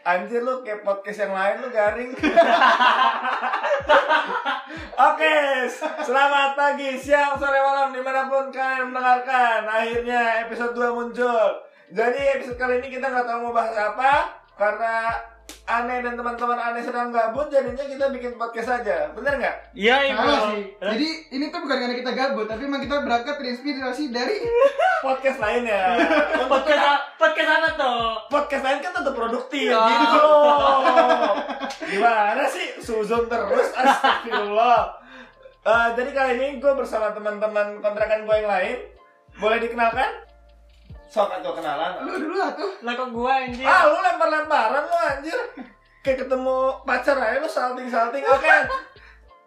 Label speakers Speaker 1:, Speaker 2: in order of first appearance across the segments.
Speaker 1: Anjir lu kayak podcast yang lain lu garing. Oke, s- selamat pagi, siang, sore, malam dimanapun kalian mendengarkan. Akhirnya episode 2 muncul. Jadi episode kali ini kita nggak tahu mau bahas apa karena aneh dan teman-teman aneh sedang gabut jadinya kita bikin podcast saja. Bener nggak?
Speaker 2: Iya, Ibu.
Speaker 3: Salah sih. Jadi ini tuh bukan karena kita gabut, tapi emang kita berangkat terinspirasi dari
Speaker 1: Podcast lain ya.
Speaker 2: Podcast a- podcast apa tuh?
Speaker 1: podcast lain kan tetap produktif
Speaker 2: Ya.
Speaker 1: gitu loh. Gimana sih suzon terus astagfirullah. Eh, jadi kali ini gue bersama teman-teman kontrakan gue yang lain. Boleh dikenalkan? Sok atau kenalan?
Speaker 3: lu dulu lah tuh.
Speaker 2: Lah kok gua anjir.
Speaker 1: Ah, lu lempar-lemparan lu anjir. Kayak ketemu pacar aja lu salting-salting. Oke.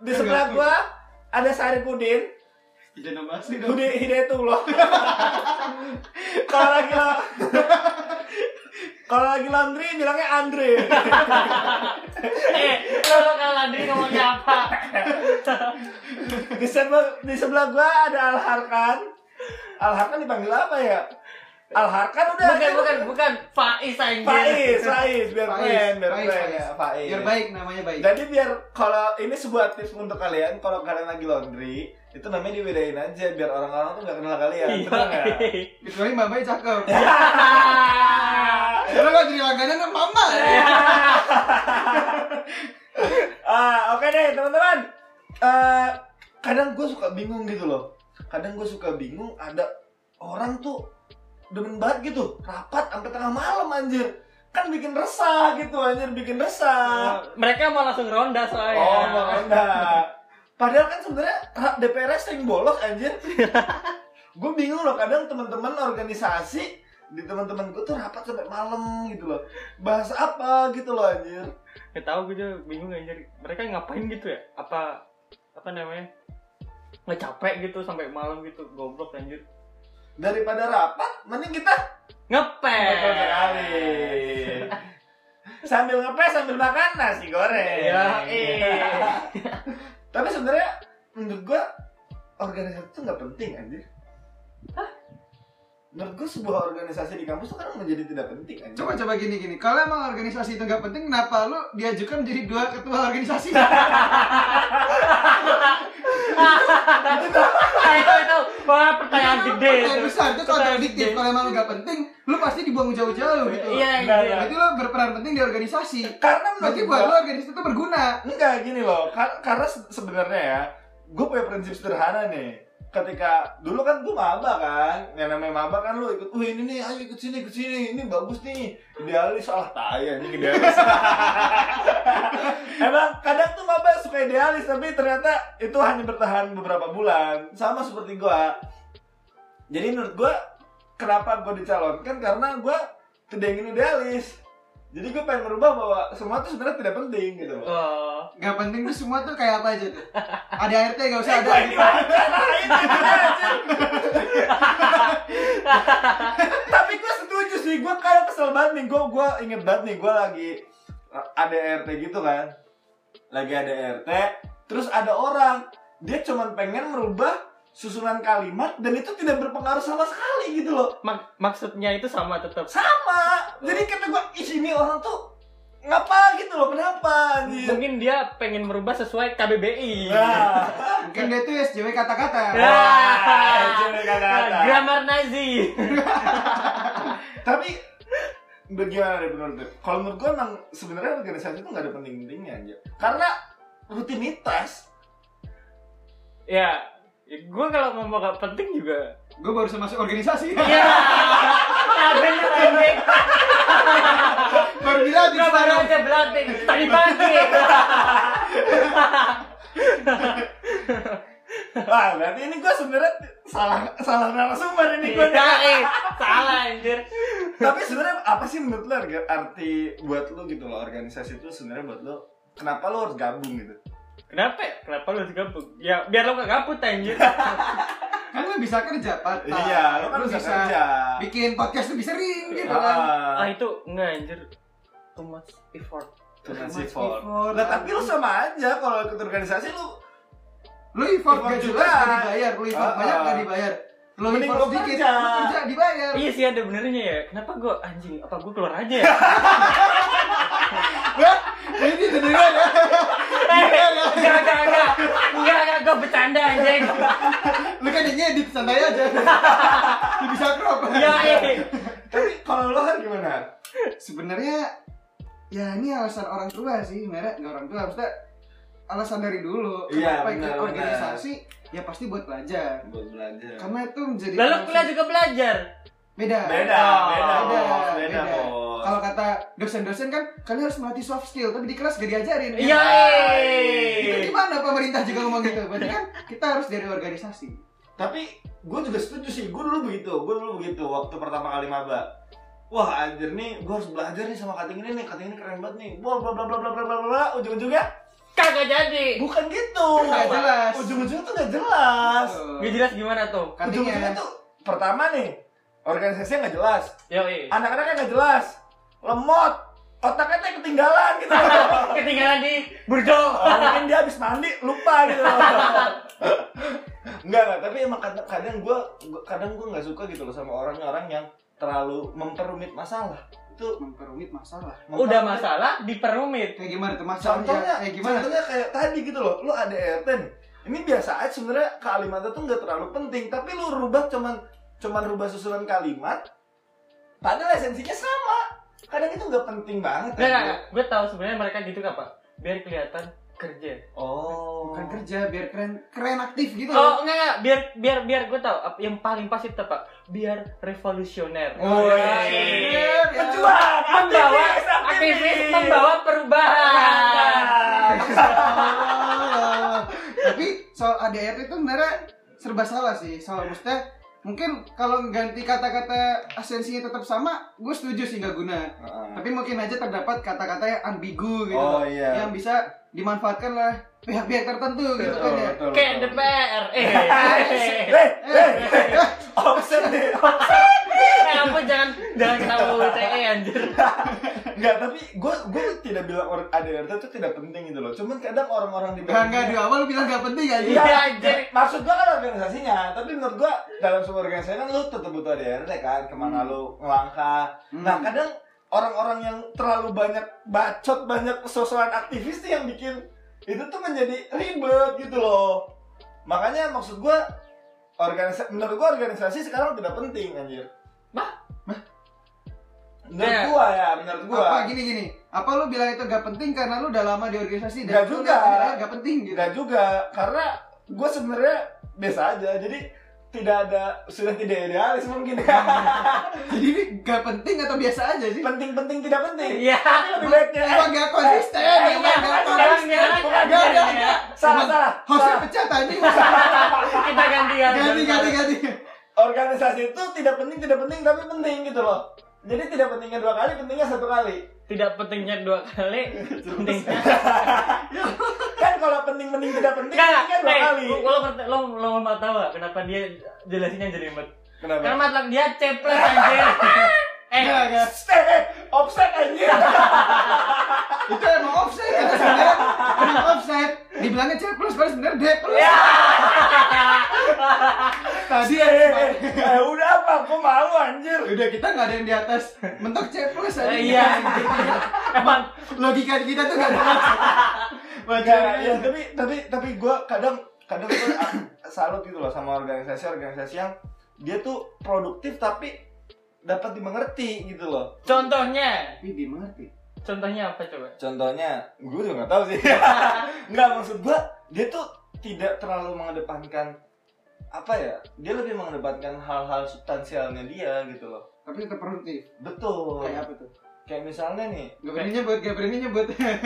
Speaker 1: Di sebelah gue ada Sari Pudin.
Speaker 3: Jangan nama asli
Speaker 1: Budi Hidayatullah. Kalau lagi la- Kalau lagi laundry bilangnya Andre.
Speaker 2: Eh, kalau kalah diri ngomongnya apa?
Speaker 1: Di sebelah, di sebelah gua ada Alharkan. Alharkan dipanggil apa ya? Alharkan udah.
Speaker 2: Bukan, bukan, bukan. Faiz Iya. anjir.
Speaker 1: Faiz, Faiz, biar
Speaker 3: Faiz,
Speaker 1: keren, biar
Speaker 3: Faiz,
Speaker 1: keren
Speaker 3: Faiz.
Speaker 1: ya, Faiz.
Speaker 3: Biar baik namanya baik.
Speaker 1: Jadi biar kalau ini sebuah tips untuk kalian kalau kalian lagi laundry itu namanya dibedain aja biar orang-orang tuh nggak kenal kalian. Bener nggak?
Speaker 2: Iya.
Speaker 3: Kecuali Mbak Mbak cakep. Kalau nggak jadi langganan sama Mama.
Speaker 1: Ah, oke deh teman-teman. Eh, kadang gue suka bingung gitu loh. Kadang gue suka bingung ada orang tuh demen banget gitu, rapat sampai tengah malam anjir. Kan bikin resah gitu anjir, bikin resah.
Speaker 2: Mereka mau langsung ronda soalnya.
Speaker 1: Oh, makanya. Padahal kan sebenarnya ra- DPR sering bolos anjir. gue bingung loh kadang teman-teman organisasi di teman-teman gue tuh rapat sampai malam gitu loh. Bahas apa gitu loh anjir.
Speaker 2: Gak tau gue Ya, juga bingung anjir. Mereka ngapain gitu ya? Apa apa namanya? Nggak capek gitu sampai malam gitu. Goblok anjir.
Speaker 1: Daripada rapat, mending kita
Speaker 2: Ngepel.
Speaker 1: Betul sekali. sambil ngepes sambil makan nasi goreng.
Speaker 2: Ya, eh.
Speaker 1: Iya. Tapi sebenarnya menurut gua organisasi itu nggak penting anjir. Menurut gua sebuah organisasi di kampus itu kan menjadi tidak penting anjir.
Speaker 3: Coba coba gini gini. Kalau emang organisasi itu nggak penting, kenapa lu diajukan menjadi dua ketua organisasi?
Speaker 2: Ah, itu itu. Wah, pertanyaan gede.
Speaker 3: Kayak
Speaker 2: itu.
Speaker 3: Iya, besar itu
Speaker 2: Pertanyaan
Speaker 3: kontradiktif.
Speaker 2: gede.
Speaker 3: Kalau emang lu nggak penting, lu pasti dibuang jauh-jauh gitu.
Speaker 2: Iya,
Speaker 1: Enggak,
Speaker 2: iya.
Speaker 3: Berarti lu berperan penting di organisasi.
Speaker 1: Karena menurut
Speaker 3: Berarti
Speaker 1: gua
Speaker 3: buat lu organisasi itu berguna.
Speaker 1: enggak gini loh. Kar- karena se- sebenarnya ya, gua punya prinsip sederhana nih. Ketika dulu kan gua maba kan, yang namanya maba kan lu ikut, wah ini nih, ayo ikut sini, ikut sini, ini bagus nih, idealis, salah tayang, ini idealis. Emang kadang tuh maba suka idealis tapi ternyata itu hanya bertahan beberapa bulan. Sama seperti gua. Jadi menurut gua kenapa gua dicalonkan karena gua tidak ingin idealis. Jadi gua pengen merubah bahwa semua itu sebenarnya tidak penting gitu. loh.
Speaker 2: Oh.
Speaker 3: Gak penting tuh semua tuh kayak apa aja tuh. Ada ART gak usah ada.
Speaker 1: Gua ini wajar, nah, ini dia, anjir. Tapi gua setuju sih, gua kayak kesel banget nih. Gua gua inget banget nih, gua lagi ada RT gitu kan. Lagi ada RT, terus ada orang dia cuman pengen merubah susunan kalimat dan itu tidak berpengaruh sama sekali gitu loh.
Speaker 2: Mak- maksudnya itu sama tetap.
Speaker 1: Sama. Jadi kata gua, "Ih, ini orang tuh ngapa gitu loh, kenapa?" anjir?
Speaker 2: Mungkin dia pengen merubah sesuai KBBI.
Speaker 1: Nah.
Speaker 3: Mungkin dia tuh SJW
Speaker 2: Ya.
Speaker 3: kata-kata.
Speaker 1: Wah, SJW kata-kata.
Speaker 2: Nah, grammar Nazi.
Speaker 1: tapi bagaimana deh menurut lu? kalau menurut gue emang sebenarnya organisasi itu nggak ada penting-pentingnya anjir karena rutinitas
Speaker 2: ya, ya gue kalau ngomong gak penting juga.
Speaker 3: Gue baru masuk organisasi.
Speaker 1: Iya.
Speaker 2: Ya. Nah, bener anjing.
Speaker 3: baru dilatih
Speaker 2: Gak baru
Speaker 3: sekarang.
Speaker 2: aja berlatih tadi pagi.
Speaker 1: wah ah, berarti ini gue sebenarnya salah salah narasumber ini
Speaker 3: Iya.
Speaker 1: gue
Speaker 2: Nah, eh, salah anjir.
Speaker 1: tapi sebenarnya apa sih menurut lo harga- arti buat lo gitu loh organisasi itu sebenarnya buat lo kenapa lo harus gabung gitu
Speaker 2: Kenapa? ya? Kenapa lu harus gabut? Ya biar lu gak gabut anjir.
Speaker 3: Kan lu bisa kerja part
Speaker 1: iya lo kan bisa kerja
Speaker 3: Ah, bikin podcast lebih sering gitu kan.
Speaker 2: ah
Speaker 1: Ah,
Speaker 2: itu enggak anjir. Too much effort.
Speaker 1: itu kan
Speaker 3: Mas
Speaker 1: si Ford.
Speaker 3: effort.
Speaker 1: Lah, tapi lo sama aja kalau ikut organisasi lo
Speaker 3: Lu effort
Speaker 1: Effort
Speaker 3: gak
Speaker 1: juga.
Speaker 3: jelas gak dibayar. Lu effort
Speaker 1: Ah,
Speaker 3: banyak
Speaker 1: ah.
Speaker 3: gak dibayar. Lu
Speaker 1: Mending
Speaker 3: effort
Speaker 1: lu
Speaker 3: sedikit,
Speaker 1: kerja.
Speaker 3: lu kerja dibayar.
Speaker 2: Iya sih ada benernya ya. Kenapa gue anjing? Apa gue keluar aja ya?
Speaker 3: Wah, ini cedera ya. Cedera ya.
Speaker 2: Enggak, enggak, enggak. Enggak, enggak, enggak bercanda anjing.
Speaker 3: Lu kan ini edit santai aja. Lu bisa crop.
Speaker 1: Iya,
Speaker 2: Ya, eh.
Speaker 1: Tapi kalau lo kan gimana?
Speaker 3: Sebenarnya ya ini alasan orang tua sih, merek nggak orang tua maksudnya alasan dari dulu.
Speaker 1: Iya,
Speaker 3: Kenapa
Speaker 1: benar,
Speaker 3: ikut
Speaker 1: Iya. benar.
Speaker 3: organisasi? Ya pasti buat belajar.
Speaker 1: Buat belajar.
Speaker 3: Karena itu menjadi
Speaker 2: Lalu
Speaker 3: proses-
Speaker 2: kuliah juga belajar.
Speaker 3: beda.
Speaker 1: Beda, beda,
Speaker 3: Beda,
Speaker 1: bos, beda,
Speaker 3: beda.
Speaker 1: bos.
Speaker 3: Kalau kata dosen-dosen kan kalian harus melatih soft skill, tapi di kelas gak diajarin.
Speaker 2: Iya.
Speaker 3: Itu
Speaker 2: eh.
Speaker 3: gimana pemerintah juga ngomong gitu? Berarti kan kita harus dari organisasi.
Speaker 1: Tapi gue juga setuju sih, gue dulu begitu, gue dulu begitu waktu pertama kali maba. Wah anjir nih, gue harus belajar nih sama kating ini nih, kating ini keren banget nih. Wah bla bla bla bla bla bla bla, bla. ujung-ujungnya
Speaker 2: Kagak jadi.
Speaker 1: bukan gitu.
Speaker 3: Gak jelas.
Speaker 1: Ujung-ujungnya tuh gak jelas.
Speaker 2: Gak jelas gimana tuh?
Speaker 1: Ujung-ujungnya
Speaker 3: Katanya
Speaker 1: tuh pertama nih, organisasinya gak jelas.
Speaker 2: Yo, eh.
Speaker 1: Anak-anaknya gak jelas, lemot, otaknya tuh ketinggalan gitu.
Speaker 2: Ketinggalan di Burjo.
Speaker 1: Oh, mungkin dia habis mandi lupa gitu loh. Enggak enggak, tapi emang kadang kadang gua gua- kadang gua nggak suka gitu loh sama orang-orang yang terlalu memperumit masalah. Itu
Speaker 3: memperumit masalah.
Speaker 1: memperumit-
Speaker 2: Udah masalah diperumit.
Speaker 3: Kayak gimana tuh masalahnya?
Speaker 1: Contohnya,
Speaker 3: Kayak gimana?
Speaker 1: contohnya kayak tadi gitu loh. Lu ada RT nih. Ini biasa aja sebenarnya kalimatnya tuh nggak terlalu penting, tapi lu rubah cuman cuman rubah susunan kalimat. Padahal esensinya sama. Kadang itu nggak penting banget. kan,
Speaker 2: Enggak, enggak,
Speaker 1: bro.
Speaker 2: enggak. Gue tahu sebenarnya mereka gitu kan, Pak. Biar kelihatan kerja.
Speaker 1: Oh.
Speaker 3: Bukan kerja biar keren keren aktif gitu.
Speaker 2: Oh, enggak, enggak. Biar biar biar gue tahu apa- yang paling pas itu, Pak. Biar revolusioner.
Speaker 1: Oh,
Speaker 2: Woi.
Speaker 1: iya, iya,
Speaker 3: iya.
Speaker 1: Pejuang,
Speaker 2: Membawa
Speaker 1: aktivis,
Speaker 2: aktivis membawa perubahan.
Speaker 3: Oh. Tapi soal ADRT itu sebenarnya serba salah sih. Soal maksudnya mungkin kalau ganti kata-kata esensinya tetap sama, gue setuju sih nggak guna.
Speaker 1: Ah.
Speaker 3: Tapi mungkin aja terdapat kata-kata yang ambigu gitu.
Speaker 1: Oh
Speaker 3: loh.
Speaker 1: iya.
Speaker 3: Yang bisa dimanfaatkan lah pihak-pihak tertentu gitu kan ya.
Speaker 2: Kayak DPR. Eh,
Speaker 1: Eh, eh, eh, eh. Offset deh.
Speaker 2: eh, apa jangan jangan tahu UTE anjir.
Speaker 1: Enggak, tapi gue gue tidak bilang orang ADRT itu tidak penting gitu loh. Cuman kadang orang-orang di
Speaker 3: Enggak enggak di awal lu bilang gak penting aja.
Speaker 2: Iya,
Speaker 1: Iya,
Speaker 2: anjir.
Speaker 1: maksud gua kan organisasinya, tapi menurut gua dalam sebuah organisasi kan lu tetap butuh ADRT kan, kemana
Speaker 3: Hmm.
Speaker 1: lu melangkah. Nah kadang orang-orang yang terlalu banyak bacot, banyak sosokan aktivis tuh yang bikin itu tuh menjadi ribet gitu loh. Makanya maksud gua organisasi, menurut gua organisasi sekarang tidak penting anjir.
Speaker 2: Bah?
Speaker 1: Menurut
Speaker 2: Eh.
Speaker 1: gua ya, menurut gua.
Speaker 3: apa gini gini apa lu bilang itu gak penting karena lu udah lama di organisasi
Speaker 1: Nggak
Speaker 3: dan lu
Speaker 1: juga.
Speaker 3: udah bilang gak penting gitu
Speaker 1: Enggak juga, karena gue sebenarnya biasa aja. Jadi tidak ada sudah tidak idealis mungkin.
Speaker 3: jadi ini gak penting atau biasa aja sih
Speaker 1: Penting-penting tidak penting.
Speaker 2: Iya.
Speaker 1: Tapi lebih baiknya eh,
Speaker 3: emang gak konsisten
Speaker 2: Eh,
Speaker 3: emang
Speaker 2: iya,
Speaker 3: gak
Speaker 2: kan,
Speaker 3: konsisten
Speaker 2: sekarang
Speaker 3: Bukan,
Speaker 2: nyerang,
Speaker 1: Iya,
Speaker 3: enggak,
Speaker 2: anjir,
Speaker 3: enggak.
Speaker 1: salah salah.
Speaker 3: hostnya
Speaker 1: salah.
Speaker 3: pecah tadi
Speaker 2: Kita ganti ganti.
Speaker 3: ganti ganti ganti
Speaker 1: Organisasi itu tidak penting tidak penting tapi penting gitu loh. Jadi tidak pentingnya dua kali, pentingnya satu kali.
Speaker 2: Tidak pentingnya dua kali. Pentingnya
Speaker 1: Kan kalau penting-penting tidak penting,
Speaker 2: Enggak,
Speaker 1: pentingnya dua
Speaker 2: eh,
Speaker 1: kali.
Speaker 2: Lo, lo, ngerti- lo, lo mau tahu nggak kenapa dia jelasinnya jadi ribet?
Speaker 1: Kenapa?
Speaker 2: Karena matlab dia ceplos anjir. eh,
Speaker 3: Enggak, enggak.
Speaker 1: Eh, eh, offset anjir.
Speaker 3: itu emang offset kata sebenarnya Emang offset dibilangnya C plus padahal sebenarnya D plus
Speaker 2: ya.
Speaker 3: tadi
Speaker 1: Eh, eh, eh, eh, udah apa? Gue malu anjir.
Speaker 3: iya, udah kita nggak ada yang di atas mentok C plus aja
Speaker 2: Eh, Iya. Emang
Speaker 3: logika kita tuh gak ada wajar
Speaker 1: Enggak, ya, tapi tapi tapi gue kadang kadang gue salut gitu loh sama organisasi-organisasi yang dia tuh produktif tapi dapat dimengerti gitu loh.
Speaker 2: contohnya,
Speaker 3: tapi dimengerti
Speaker 2: contohnya apa coba?
Speaker 1: Contohnya, gue juga nggak tahu sih. nggak maksud gue, dia tuh tidak terlalu mengedepankan apa ya? Dia lebih mengedepankan hal-hal substansialnya dia gitu loh.
Speaker 3: tapi tetap produktif
Speaker 1: Betul. Kayak,
Speaker 3: kayak apa tuh
Speaker 1: misalnya nih,
Speaker 3: gak berani nyebut gak berani nyebut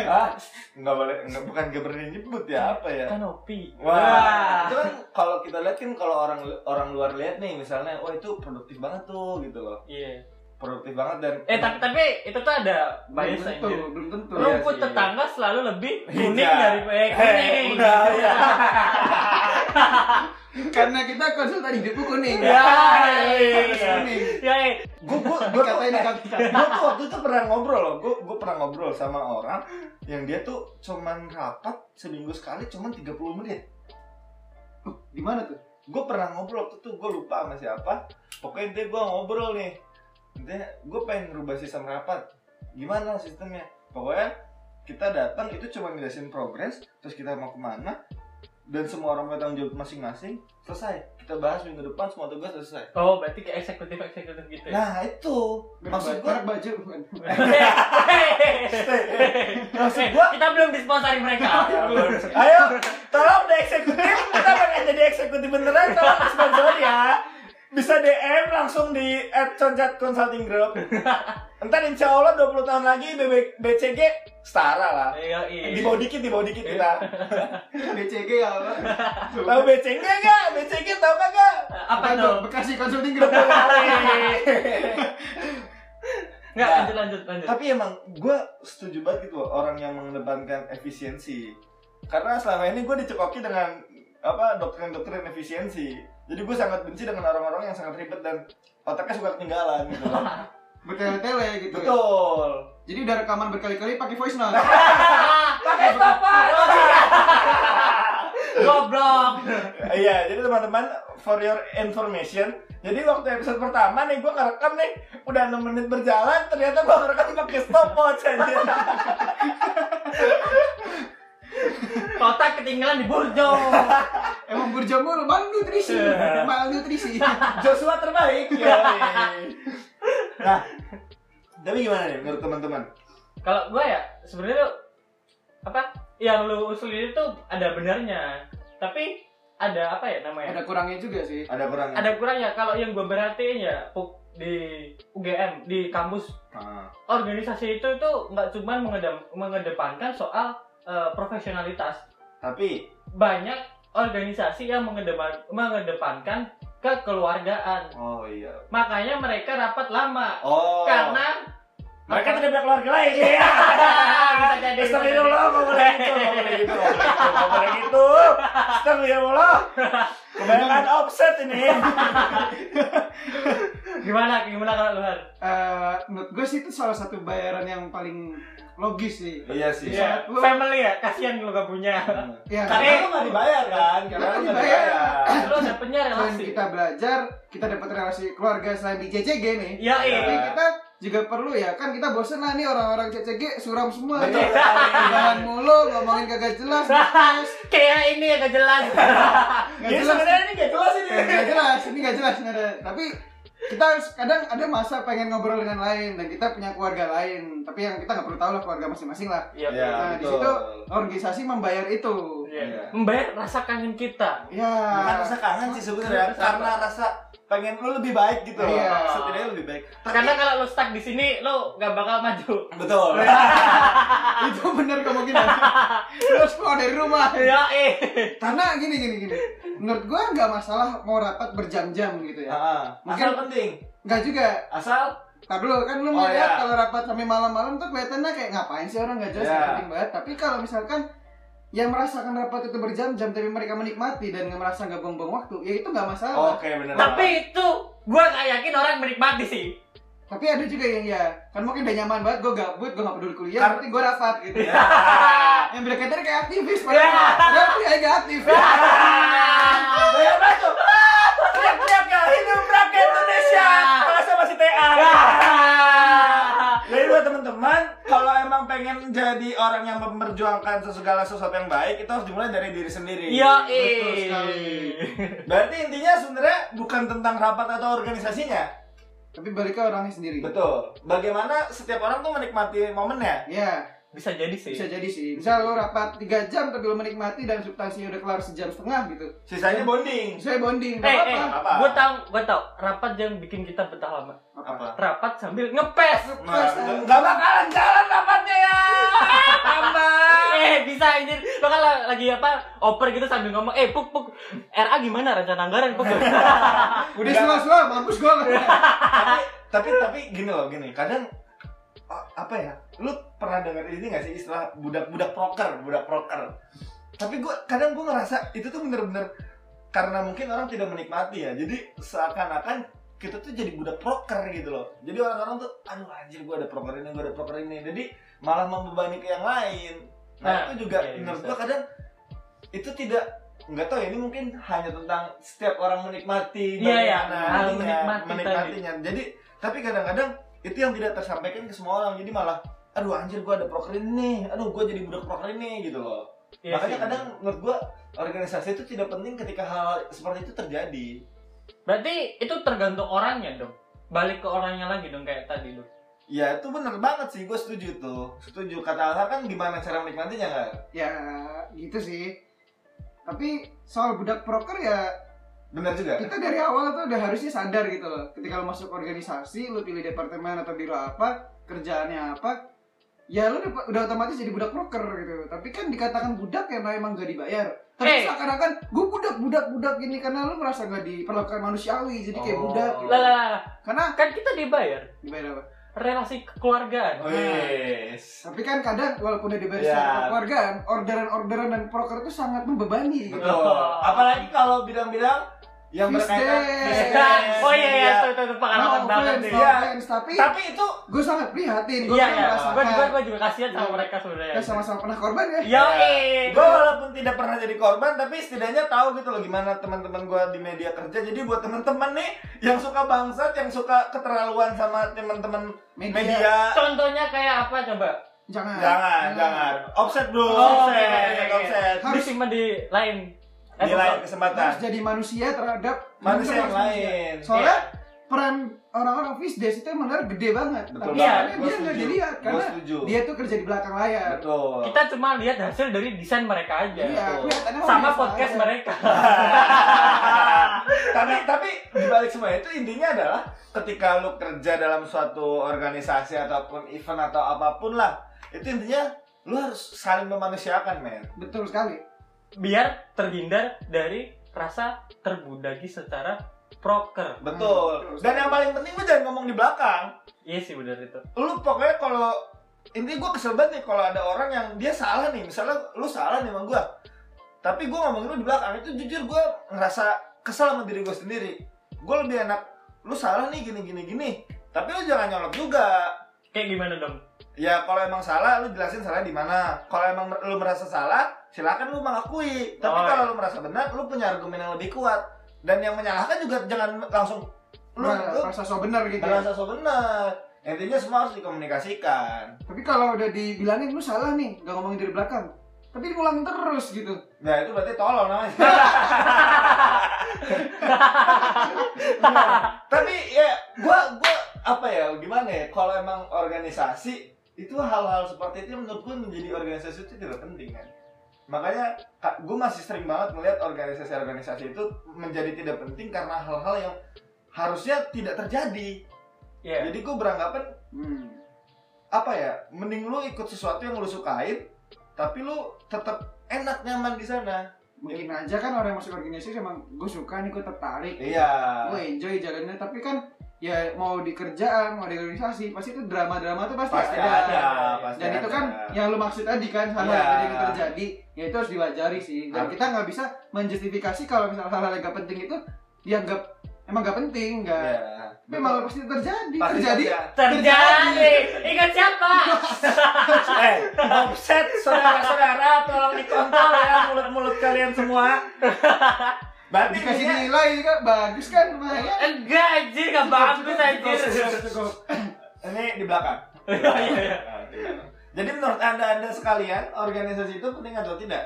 Speaker 1: ah nggak boleh, nggak bukan gak berani nyebut ya apa ya?
Speaker 2: Kanopi.
Speaker 1: Wah, itu kan kalau kita lihat kan kalau orang orang luar lihat nih misalnya, wah itu produktif banget tuh gitu loh,
Speaker 2: Iya.
Speaker 1: produktif banget dan
Speaker 2: Eh tapi tapi itu tuh ada bias
Speaker 3: belum tentu
Speaker 2: anjir.
Speaker 3: belum tentu
Speaker 1: Iya
Speaker 2: Rumput
Speaker 1: sih.
Speaker 2: tetangga selalu lebih kuning
Speaker 1: Iya.
Speaker 2: dari eh,
Speaker 1: Hei,
Speaker 2: kuning.
Speaker 1: udah, ya.
Speaker 3: karena kita konsultan hidupku kuning
Speaker 2: Ya, iya.
Speaker 3: Harus kuning
Speaker 2: Ya, eh.
Speaker 1: gue gue gue tuh,
Speaker 3: dikatain ya.
Speaker 1: eh,
Speaker 3: dikatain
Speaker 1: gua tuh waktu itu pernah ngobrol loh, gue gue pernah ngobrol sama orang yang dia tuh cuman rapat seminggu sekali cuman 30 menit.
Speaker 3: di mana tuh
Speaker 1: gue pernah ngobrol waktu itu gue lupa sama siapa pokoknya dia gue ngobrol nih dia gue pengen ngerubah sistem rapat gimana sistemnya
Speaker 4: pokoknya kita datang itu cuma ngejelasin progres terus kita mau kemana dan semua orang punya tanggung jawab masing-masing selesai kita bahas minggu depan semua tugas udah selesai
Speaker 2: Oh, berarti kayak eksekutif eksekutif gitu ya.
Speaker 4: nah itu maksud gua
Speaker 3: merek baju bukan.
Speaker 4: maksud
Speaker 2: Eh,
Speaker 4: gua
Speaker 2: kita belum disponsori mereka.
Speaker 1: Iya, Ayo, tolong di eksekutif. Kita pengen jadi eksekutif beneran, tolong di sponsor ya. Bisa DM langsung di at Concat Consulting Group. Entar insya Allah 20 tahun lagi BB, BCG setara lah.
Speaker 2: Iya, iya.
Speaker 1: Di bawah dikit, di bawah dikit kita.
Speaker 3: BCG ya Allah.
Speaker 1: Tahu BCG nggak? BCG tahu nggak nggak?
Speaker 2: Eh, Apa
Speaker 3: Apa
Speaker 2: tuh?
Speaker 3: tuh? Bekasi Consulting Group.
Speaker 2: Enggak,
Speaker 4: Nah.
Speaker 2: lanjut lanjut lanjut.
Speaker 4: tapi emang gua setuju banget gitu loh, orang yang mengedepankan efisiensi karena selama ini gua dicekoki dengan apa doktrin-doktrin efisiensi jadi gue sangat benci dengan orang-orang yang sangat ribet dan otaknya suka ketinggalan gitu loh.
Speaker 3: Bertele-tele gitu.
Speaker 4: betul
Speaker 3: Jadi udah rekaman berkali-kali pakai voice note.
Speaker 2: Pakai papan. Goblok.
Speaker 1: Iya, jadi teman-teman for your information. Jadi waktu episode pertama nih gue ngerekam nih udah 6 menit berjalan ternyata gue ngerekam pakai stopwatch aja.
Speaker 2: Kotak ketinggalan di burjo.
Speaker 3: Emang burjo mulu malnutrisi.
Speaker 2: Iya.
Speaker 3: Malnutrisi.
Speaker 1: Joshua terbaik. Yoi. Nah,
Speaker 4: tapi gimana nih menurut teman-teman
Speaker 2: Kalau gua ya sebenarnya lu- apa yang lu usulin itu ada benarnya. Tapi ada apa ya namanya?
Speaker 3: Ada kurangnya juga sih.
Speaker 4: ada ya? kurangnya
Speaker 2: ada kurangnya kalau yang gue berhatiin ya pu- di UGM di kampus
Speaker 4: Ah.
Speaker 2: organisasi itu itu nggak cuma mengedem- mengedepankan soal eh, profesionalitas
Speaker 4: tapi
Speaker 2: banyak organisasi yang mengedepan, mengedepankan kekeluargaan
Speaker 4: oh iya
Speaker 2: makanya mereka rapat lama
Speaker 4: oh
Speaker 2: karena
Speaker 1: Mereka tidak punya keluarga lain. Iya.
Speaker 2: Bisa jadi.
Speaker 1: Astagfirullah, nggak boleh gitu, nggak boleh gitu, nggak boleh gitu, nggak boleh gitu. Astagfirullah. Kebanyakan offset ini.
Speaker 2: gimana gimana kalau lu Har?
Speaker 3: Eh, menurut gue sih itu salah satu bayaran yang paling logis sih.
Speaker 4: iya sih
Speaker 3: Iya. lu-
Speaker 2: family ya kasihan lu gak punya
Speaker 4: Hmm.
Speaker 3: Ya,
Speaker 1: Karena lu nggak dibayar kan? Karena lu nggak Eh. dibayar.
Speaker 2: lu dapetnya
Speaker 3: selain
Speaker 2: relasi
Speaker 3: kita belajar, kita dapat relasi keluarga selain di CCG nih.
Speaker 2: ya iya
Speaker 3: Tapi kita juga perlu ya, kan kita bosen lah nih orang-orang CCG suram semua.
Speaker 1: Betul.
Speaker 3: nih. Jalan mulu, ngomongin kagak jelas, ngetes,
Speaker 2: kayak ini yang gak jelas
Speaker 3: nggak
Speaker 1: Jadi Iya,
Speaker 3: jelas, Eh,
Speaker 1: sebenarnya ini nggak jelas ini.
Speaker 3: nggak jelas, ini nggak jelas, nggak ada. Tapi kita harus kadang ada masa pengen ngobrol dengan lain dan kita punya keluarga lain, tapi yang kita nggak perlu tahu lah keluarga masing-masing lah.
Speaker 2: Iya.
Speaker 4: Iya,
Speaker 3: Nah, di
Speaker 4: betul.
Speaker 3: situ organisasi membayar itu.
Speaker 4: Iya.
Speaker 2: membayar rasa kangen kita
Speaker 3: Ya.
Speaker 4: bukan rasa kangen sih sebenarnya
Speaker 2: Rasa-
Speaker 4: karena rasa pengen lu lebih baik gitu loh
Speaker 3: Iya.
Speaker 4: setidaknya lebih baik
Speaker 2: karena kalau lo stuck di sini lo gak bakal maju
Speaker 4: betul
Speaker 3: itu bener kemungkinan lu harus keluar dari rumah
Speaker 2: ya eh
Speaker 3: karena gini gini gini menurut gua nggak masalah mau rapat berjam-jam gitu ya
Speaker 4: Ah,
Speaker 3: Mungkin-
Speaker 4: asal penting
Speaker 3: nggak juga
Speaker 4: asal
Speaker 3: nah dulu kan lu
Speaker 4: Oh,
Speaker 3: mau
Speaker 4: iya.
Speaker 3: kalau rapat sampai malam-malam tuh kelihatannya kayak ngapain sih orang nggak jelas
Speaker 4: Iya.
Speaker 3: nggak penting banget tapi kalau misalkan yang merasakan rapat itu berjam-jam tapi mereka menikmati dan nggak merasa nggak buang-buang waktu ya itu nggak masalah
Speaker 4: oke bener
Speaker 2: tapi itu gue gak yakin orang menikmati sih
Speaker 3: tapi ada juga yang ya kan mungkin udah nyaman banget gua gabut gua nggak peduli kuliah
Speaker 4: Kar-
Speaker 3: tapi gua rapat gitu ya
Speaker 1: Iya.
Speaker 3: yang berkaitan kayak aktivis
Speaker 2: Iya.
Speaker 3: padahal padahal dia nggak aktif
Speaker 1: Bayar batu. Teriak-teriak ya, hidup rakyat Indonesia. Kalau saya masih TA. Jadi buat teman-teman, kalau emang pengen jadi orang yang memperjuangkan segala sesuatu yang baik, itu harus dimulai dari diri sendiri.
Speaker 2: ya
Speaker 3: Betul sekali.
Speaker 2: eh
Speaker 1: Berarti intinya sebenarnya bukan tentang rapat atau organisasinya.
Speaker 3: tapi balik ke orangnya sendiri
Speaker 1: Betul. Bagaimana setiap orang tuh menikmati momennya.
Speaker 3: ya
Speaker 2: bisa jadi sih
Speaker 3: bisa jadi sih misal lo rapat 3 jam tapi lo menikmati dan substansinya udah kelar sejam setengah gitu
Speaker 1: Sisanya bonding.
Speaker 3: saya bonding
Speaker 2: eh
Speaker 3: nggak
Speaker 2: eh
Speaker 3: apa-apa
Speaker 1: apa-apa.
Speaker 2: gue tau gue tau rapat yang bikin kita betah lama
Speaker 4: apa
Speaker 2: rapat sambil
Speaker 4: Nah,
Speaker 2: ngepes
Speaker 3: kan?
Speaker 1: Nggak- Nggak bakalan jalan rapatnya ya. Tambah.
Speaker 2: eh bisa anjir lo kan la- lagi apa oper gitu sambil ngomong eh puk puk RA gimana rencana anggaran puk
Speaker 3: udah slow slow Iya, mampus gue
Speaker 4: tapi tapi gini loh gini kadang oh, apa ya lu pernah dengar ini gak sih istilah budak budak proker budak proker tapi gue kadang gue ngerasa itu tuh bener-bener karena mungkin orang tidak menikmati ya jadi seakan-akan kita tuh jadi budak proker gitu loh jadi orang-orang tuh aduh anjir gue ada proker ini gue ada proker ini jadi malah membebani ke yang lain nah,
Speaker 2: Nah,
Speaker 4: itu juga
Speaker 2: iya, iya,
Speaker 4: menurut
Speaker 2: bisa.
Speaker 4: gue kadang itu tidak nggak tahu ya, ini mungkin hanya tentang setiap orang menikmati
Speaker 2: Iya, iya.
Speaker 4: bagaimana
Speaker 2: Hal
Speaker 4: ininya,
Speaker 2: menikmati tadi.
Speaker 4: menikmatinya jadi tapi kadang-kadang itu yang tidak tersampaikan ke semua orang jadi malah
Speaker 1: aduh anjir gue ada proker ini nih aduh gue jadi budak proker ini gitu loh
Speaker 2: Iya
Speaker 1: makanya
Speaker 2: sih.
Speaker 1: kadang menurut gue organisasi itu tidak penting ketika hal seperti itu terjadi
Speaker 2: Berarti itu tergantung orangnya dong. Balik ke orangnya lagi dong kayak tadi lu.
Speaker 1: ya itu bener banget sih gue setuju tuh setuju kata Alha kan gimana cara menikmatinya kan
Speaker 3: ya gitu sih tapi soal budak proker ya
Speaker 1: bener juga
Speaker 3: kita dari awal tuh udah harusnya sadar gitu loh ketika lu masuk organisasi lu pilih departemen atau biro apa kerjaannya apa ya lu udah, udah otomatis jadi budak proker gitu tapi kan dikatakan budak ya emang gak dibayar
Speaker 2: Eh.
Speaker 3: tapi seakan-akan gue budak budak budak gini karena lu merasa gak diperlakukan manusiawi jadi kayak
Speaker 1: Oh.
Speaker 3: budak gitu.
Speaker 2: Lah lah, lah,
Speaker 3: karena
Speaker 2: kan kita dibayar
Speaker 3: dibayar apa
Speaker 2: relasi kekeluargaan.
Speaker 1: Oh, iya. Wes.
Speaker 3: tapi kan kadang walaupun udah dibayar
Speaker 1: Ya.
Speaker 3: secara kekeluargaan orderan-orderan dan proker itu sangat membebani gitu.
Speaker 1: Betul. Apalagi kalau bidang-bidang yang
Speaker 3: Fis
Speaker 1: berkaitan
Speaker 3: dance.
Speaker 1: Fis
Speaker 2: Nah,
Speaker 1: dance,
Speaker 2: oh iya iya,
Speaker 1: iya.
Speaker 2: itu itu, itu
Speaker 3: No
Speaker 2: pengalaman banget
Speaker 3: offense,
Speaker 2: sih.
Speaker 3: no
Speaker 1: Iya.
Speaker 3: offense, oh, tapi
Speaker 1: Tapi itu
Speaker 3: gue sangat prihatin gue
Speaker 2: Iya,
Speaker 3: pernah
Speaker 2: iya. Gua
Speaker 3: merasakan
Speaker 2: juga gua juga kasihan sama
Speaker 3: kan Iya.
Speaker 2: mereka sebenarnya.
Speaker 3: kita sama-sama pernah korban ya
Speaker 2: Yo,
Speaker 1: gue
Speaker 2: iya.
Speaker 1: walaupun tidak pernah jadi korban tapi setidaknya tahu gitu loh gimana teman-teman gue di media kerja jadi buat teman-teman nih yang suka bangsat yang suka keterlaluan sama teman-teman
Speaker 3: media,
Speaker 1: media
Speaker 2: contohnya kayak apa coba?
Speaker 3: Iya. Jangan,
Speaker 1: jangan jangan offset bro
Speaker 2: Oh,
Speaker 1: offset
Speaker 2: iya, iya, iya.
Speaker 1: offset
Speaker 3: Harus-
Speaker 2: Disimpan di lain. Eh,
Speaker 1: di lain kesempatan
Speaker 3: harus jadi manusia terhadap
Speaker 1: manusia yang
Speaker 3: terhadap
Speaker 1: lain
Speaker 3: soalnya peran orang-orang fish days itu emang benar gede banget
Speaker 1: betul
Speaker 3: tapi
Speaker 2: Iya,
Speaker 1: banget gue
Speaker 3: sebenarnya dia nggak
Speaker 1: setuju
Speaker 3: dilihat
Speaker 1: gue
Speaker 3: karena
Speaker 1: setuju
Speaker 3: dia tuh kerja di belakang layar
Speaker 1: betul
Speaker 2: kita cuma lihat hasil dari desain mereka aja.
Speaker 3: iya
Speaker 1: betul.
Speaker 3: kelihatannya
Speaker 2: Sama
Speaker 3: biasa
Speaker 2: podcast
Speaker 3: aja.
Speaker 2: mereka.
Speaker 1: tapi tapi dibalik semua itu intinya adalah ketika lu kerja dalam suatu organisasi ataupun event atau apapun lah itu intinya lu harus saling memanusiakan men
Speaker 3: betul sekali
Speaker 2: Biar terhindar dari rasa terbudagi secara proker.
Speaker 1: betul dan yang paling penting lu jangan ngomong di belakang
Speaker 2: Iya sih benar itu.
Speaker 1: lu pokoknya kalau intinya gue kesel banget nih kalau ada orang yang dia salah nih misalnya lu salah nih sama gue tapi gue ngomongin lu di belakang itu jujur gue ngerasa kesel sama diri gue sendiri gue lebih enak lu salah nih gini gini gini tapi lu jangan nyolot juga
Speaker 2: Kayak gimana dong?
Speaker 1: Ya kalau emang salah lu jelasin salah di mana. Kalau emang mer- lu merasa salah, silakan lu mengakui. Tapi
Speaker 2: Oh,
Speaker 1: kalau lu merasa benar, lu punya argumen yang lebih kuat. Dan yang menyalahkan juga jangan langsung lu,
Speaker 3: Nah,
Speaker 1: lu
Speaker 3: rasa so benar gitu ya.
Speaker 1: merasa so benar. Intinya semua harus dikomunikasikan.
Speaker 3: tapi kalau udah dibilangin lu salah nih gak ngomongin dari belakang tapi diulang terus gitu
Speaker 1: Nah itu berarti tolol namanya. Tapi ya gua gua apa ya gimana ya kalau emang organisasi itu hal-hal seperti itu yang menurut gua menjadi organisasi itu tidak penting kan. Makanya ka- gua masih sering banget melihat organisasi-organisasi itu menjadi tidak penting karena hal-hal yang harusnya tidak terjadi.
Speaker 2: Iya.
Speaker 1: Jadi gua beranggapan
Speaker 3: hmm.
Speaker 1: apa ya mending lu ikut sesuatu yang lu sukain tapi lu tetap enak nyaman di sana.
Speaker 3: mungkin aja kan orang yang masuk organisasi emang gue suka nih gue tertarik
Speaker 1: Iya.
Speaker 3: gue enjoy jalannya tapi kan ya mau di kerjaan mau di organisasi pasti itu drama drama tuh pasti,
Speaker 1: pasti ada,
Speaker 3: ada,
Speaker 1: pasti
Speaker 3: dan itu
Speaker 1: ada.
Speaker 3: kan yang lu maksud tadi kan
Speaker 1: Iya.
Speaker 3: hal-hal yang tadi yang terjadi ya itu harus diwajari sih dan
Speaker 1: Harus.
Speaker 3: kita nggak bisa menjustifikasi kalau misalnya hal-hal yang gak penting itu dianggap emang gak penting nggak
Speaker 1: Iya.
Speaker 3: tapi malah pasti terjadi
Speaker 1: Pasti
Speaker 3: terjadi
Speaker 1: ada.
Speaker 2: Terjadi. Ingat siapa?
Speaker 5: eh offset saudara-saudara tolong dikontrol ya mulut-mulut kalian semua
Speaker 1: Berarti
Speaker 3: dikasih
Speaker 1: intinya-
Speaker 3: nilai kan bagus
Speaker 1: Iya,
Speaker 3: kan lumayan
Speaker 2: Enggak anjir, enggak bagus anjir.
Speaker 1: ini di belakang.
Speaker 2: Iya, iya.
Speaker 1: Nah, di belakang. Jadi menurut anda anda sekalian organisasi itu penting atau tidak?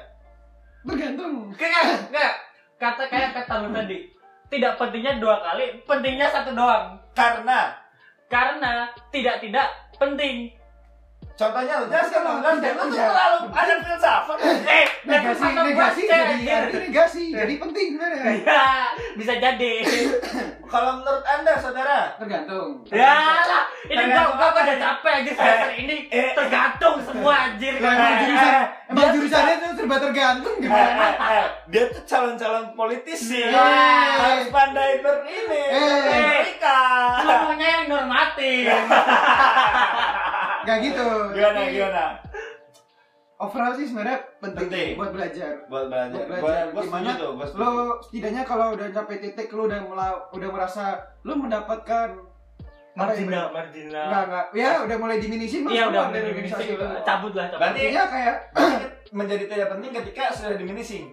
Speaker 3: bergantung
Speaker 2: Enggak, enggak. Kata kayak kata lu tadi. Tidak pentingnya dua kali, pentingnya satu doang.
Speaker 1: Karena
Speaker 2: Karena tidak-tidak penting.
Speaker 1: contohnya lu jelaskan lu jelaskan lu tuh
Speaker 3: Iya.
Speaker 1: terlalu ada filsafat.
Speaker 2: Eh, mereka
Speaker 3: negasi
Speaker 2: sama
Speaker 3: negasi
Speaker 2: gua,
Speaker 3: jadi
Speaker 2: anjir.
Speaker 3: arti negasi jadi penting bener kan?
Speaker 1: Iya.
Speaker 2: Ya, bisa jadi.
Speaker 1: Kalau menurut anda saudara,
Speaker 3: tergantung
Speaker 2: ya lah, ini gua
Speaker 1: Tergantung
Speaker 2: gua
Speaker 1: apa?
Speaker 2: udah capek anjir semester ini
Speaker 1: eh.
Speaker 2: tergantung semua anjir.
Speaker 3: Lah, emang jurusan emang
Speaker 2: dia-
Speaker 3: jurusannya tuh serba tergantung
Speaker 1: eh,
Speaker 3: kan? gimana
Speaker 1: eh, eh, dia tuh calon-calon politisi
Speaker 3: Iya.
Speaker 2: Eh.
Speaker 1: harus pandai ber ini
Speaker 3: Eh.
Speaker 1: berikah.
Speaker 2: Semuanya yang normatif.
Speaker 3: Gak gitu.
Speaker 1: Gimana
Speaker 3: Tapi
Speaker 1: gimana?
Speaker 3: Overall sih sebenarnya penting,
Speaker 1: Penting.
Speaker 3: buat belajar.
Speaker 1: Buat gitu, belajar.
Speaker 3: Buat belajar.
Speaker 1: Gua- gua setuju
Speaker 3: Gimana?
Speaker 1: tuh, gua setuju.
Speaker 3: Lo setidaknya kalau udah capek titik lo udah mela- udah merasa lo mendapatkan
Speaker 2: Marginal, marginal.
Speaker 3: enggak enggak ya udah mulai diminisi
Speaker 2: Iya udah
Speaker 3: dari
Speaker 2: udah
Speaker 3: organisasi lo.
Speaker 2: cabut lah cabut.
Speaker 1: Berarti
Speaker 3: Artinya kayak
Speaker 1: menjadi tidak penting ketika sudah diminishing.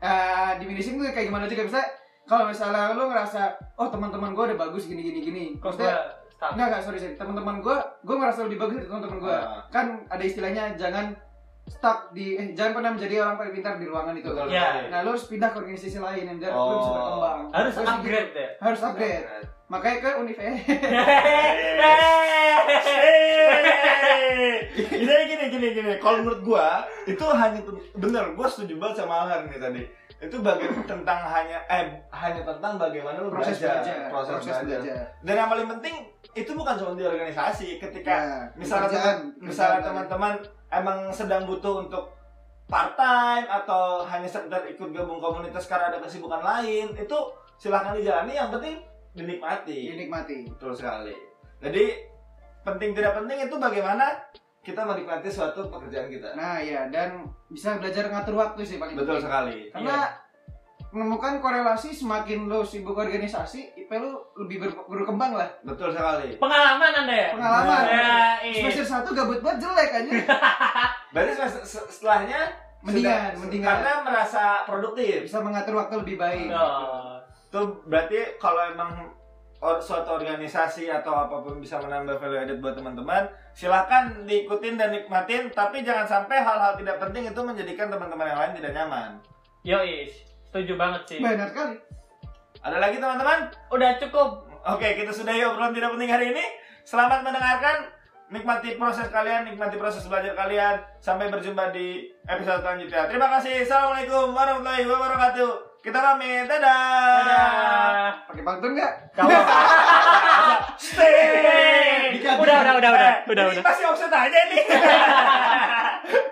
Speaker 3: eh diminisi tuh kayak gimana juga bisa kalau misalnya lo ngerasa oh teman-teman gue udah bagus gini gini gini.
Speaker 2: Kok
Speaker 3: Maksudnya
Speaker 2: gua staff
Speaker 3: Enggak, enggak, sorry, sorry. Teman-teman gue, gue ngerasa lebih bagus dari teman-teman gue.
Speaker 1: Ah.
Speaker 3: Kan ada istilahnya jangan stuck di, eh, jangan pernah menjadi orang paling pintar di ruangan itu.
Speaker 1: Betul
Speaker 2: Iya.
Speaker 1: sekali.
Speaker 3: Nah, lo harus pindah ke organisasi lain yang biar lo
Speaker 1: Oh.
Speaker 3: bisa berkembang.
Speaker 2: harus
Speaker 3: Terus
Speaker 2: upgrade ya
Speaker 3: Harus gitu. upgrade. Makanya ke univ
Speaker 2: Eh,
Speaker 1: Hehehe. Jadi gini gini gini, kalau menurut gua itu hanya bener, gua setuju banget sama Alan nih tadi. Itu bagian tentang hanya eh hanya tentang bagaimana lu
Speaker 3: proses
Speaker 1: belajar,
Speaker 3: belajar,
Speaker 1: proses, belajar.
Speaker 3: belajar.
Speaker 1: Dan yang paling penting itu bukan cuma di organisasi, ketika
Speaker 3: Nah,
Speaker 1: misalnya
Speaker 3: pekerjaan,
Speaker 1: teman- misalnya
Speaker 3: pekerjaan.
Speaker 1: teman-teman emang sedang butuh untuk part time atau hanya sekedar ikut gabung komunitas karena ada kesibukan lain, itu silahkan dijalani yang penting dinikmati.
Speaker 3: dinikmati.
Speaker 1: Betul sekali. Jadi penting tidak penting itu bagaimana kita menikmati suatu pekerjaan kita.
Speaker 3: Nah, ya dan bisa belajar ngatur waktu sih paling
Speaker 1: Betul
Speaker 3: penting.
Speaker 1: sekali. Iya.
Speaker 3: Karena menemukan korelasi semakin lo sibuk organisasi, IP lo lebih ber- berkembang lah.
Speaker 1: Betul sekali.
Speaker 2: pengalaman anda ya
Speaker 3: Pengalaman.
Speaker 2: ya
Speaker 1: Iya.
Speaker 3: Semester satu gabut banget jelek aja.
Speaker 1: Berarti se- se- setelahnya
Speaker 3: Mendingan,
Speaker 1: sudah-
Speaker 3: mendingan.
Speaker 1: karena merasa produktif.
Speaker 3: bisa mengatur waktu lebih baik.
Speaker 1: Itu berarti kalau emang or- suatu organisasi atau apapun bisa menambah value added buat teman-teman, silahkan diikutin dan nikmatin, tapi jangan sampai hal-hal tidak penting itu menjadikan teman-teman yang lain tidak nyaman.
Speaker 2: yo is setuju banget sih
Speaker 3: Benar kali.
Speaker 1: Ada lagi teman-teman?
Speaker 2: udah cukup
Speaker 1: Oke, kita sudahi obrolan tidak penting hari ini. Selamat mendengarkan. Nikmati proses kalian, nikmati proses belajar kalian. Sampai berjumpa di episode selanjutnya. Terima kasih. Assalamualaikum warahmatullahi wabarakatuh. Kita pamit. Dadah.
Speaker 2: Dadah.
Speaker 3: Pakai pantun nggak?
Speaker 1: Kawan. Stay.
Speaker 2: Udah, udah, udah, udah,
Speaker 1: Eh,
Speaker 2: udah,
Speaker 1: ini
Speaker 2: udah.
Speaker 1: Pasti offset aja nih.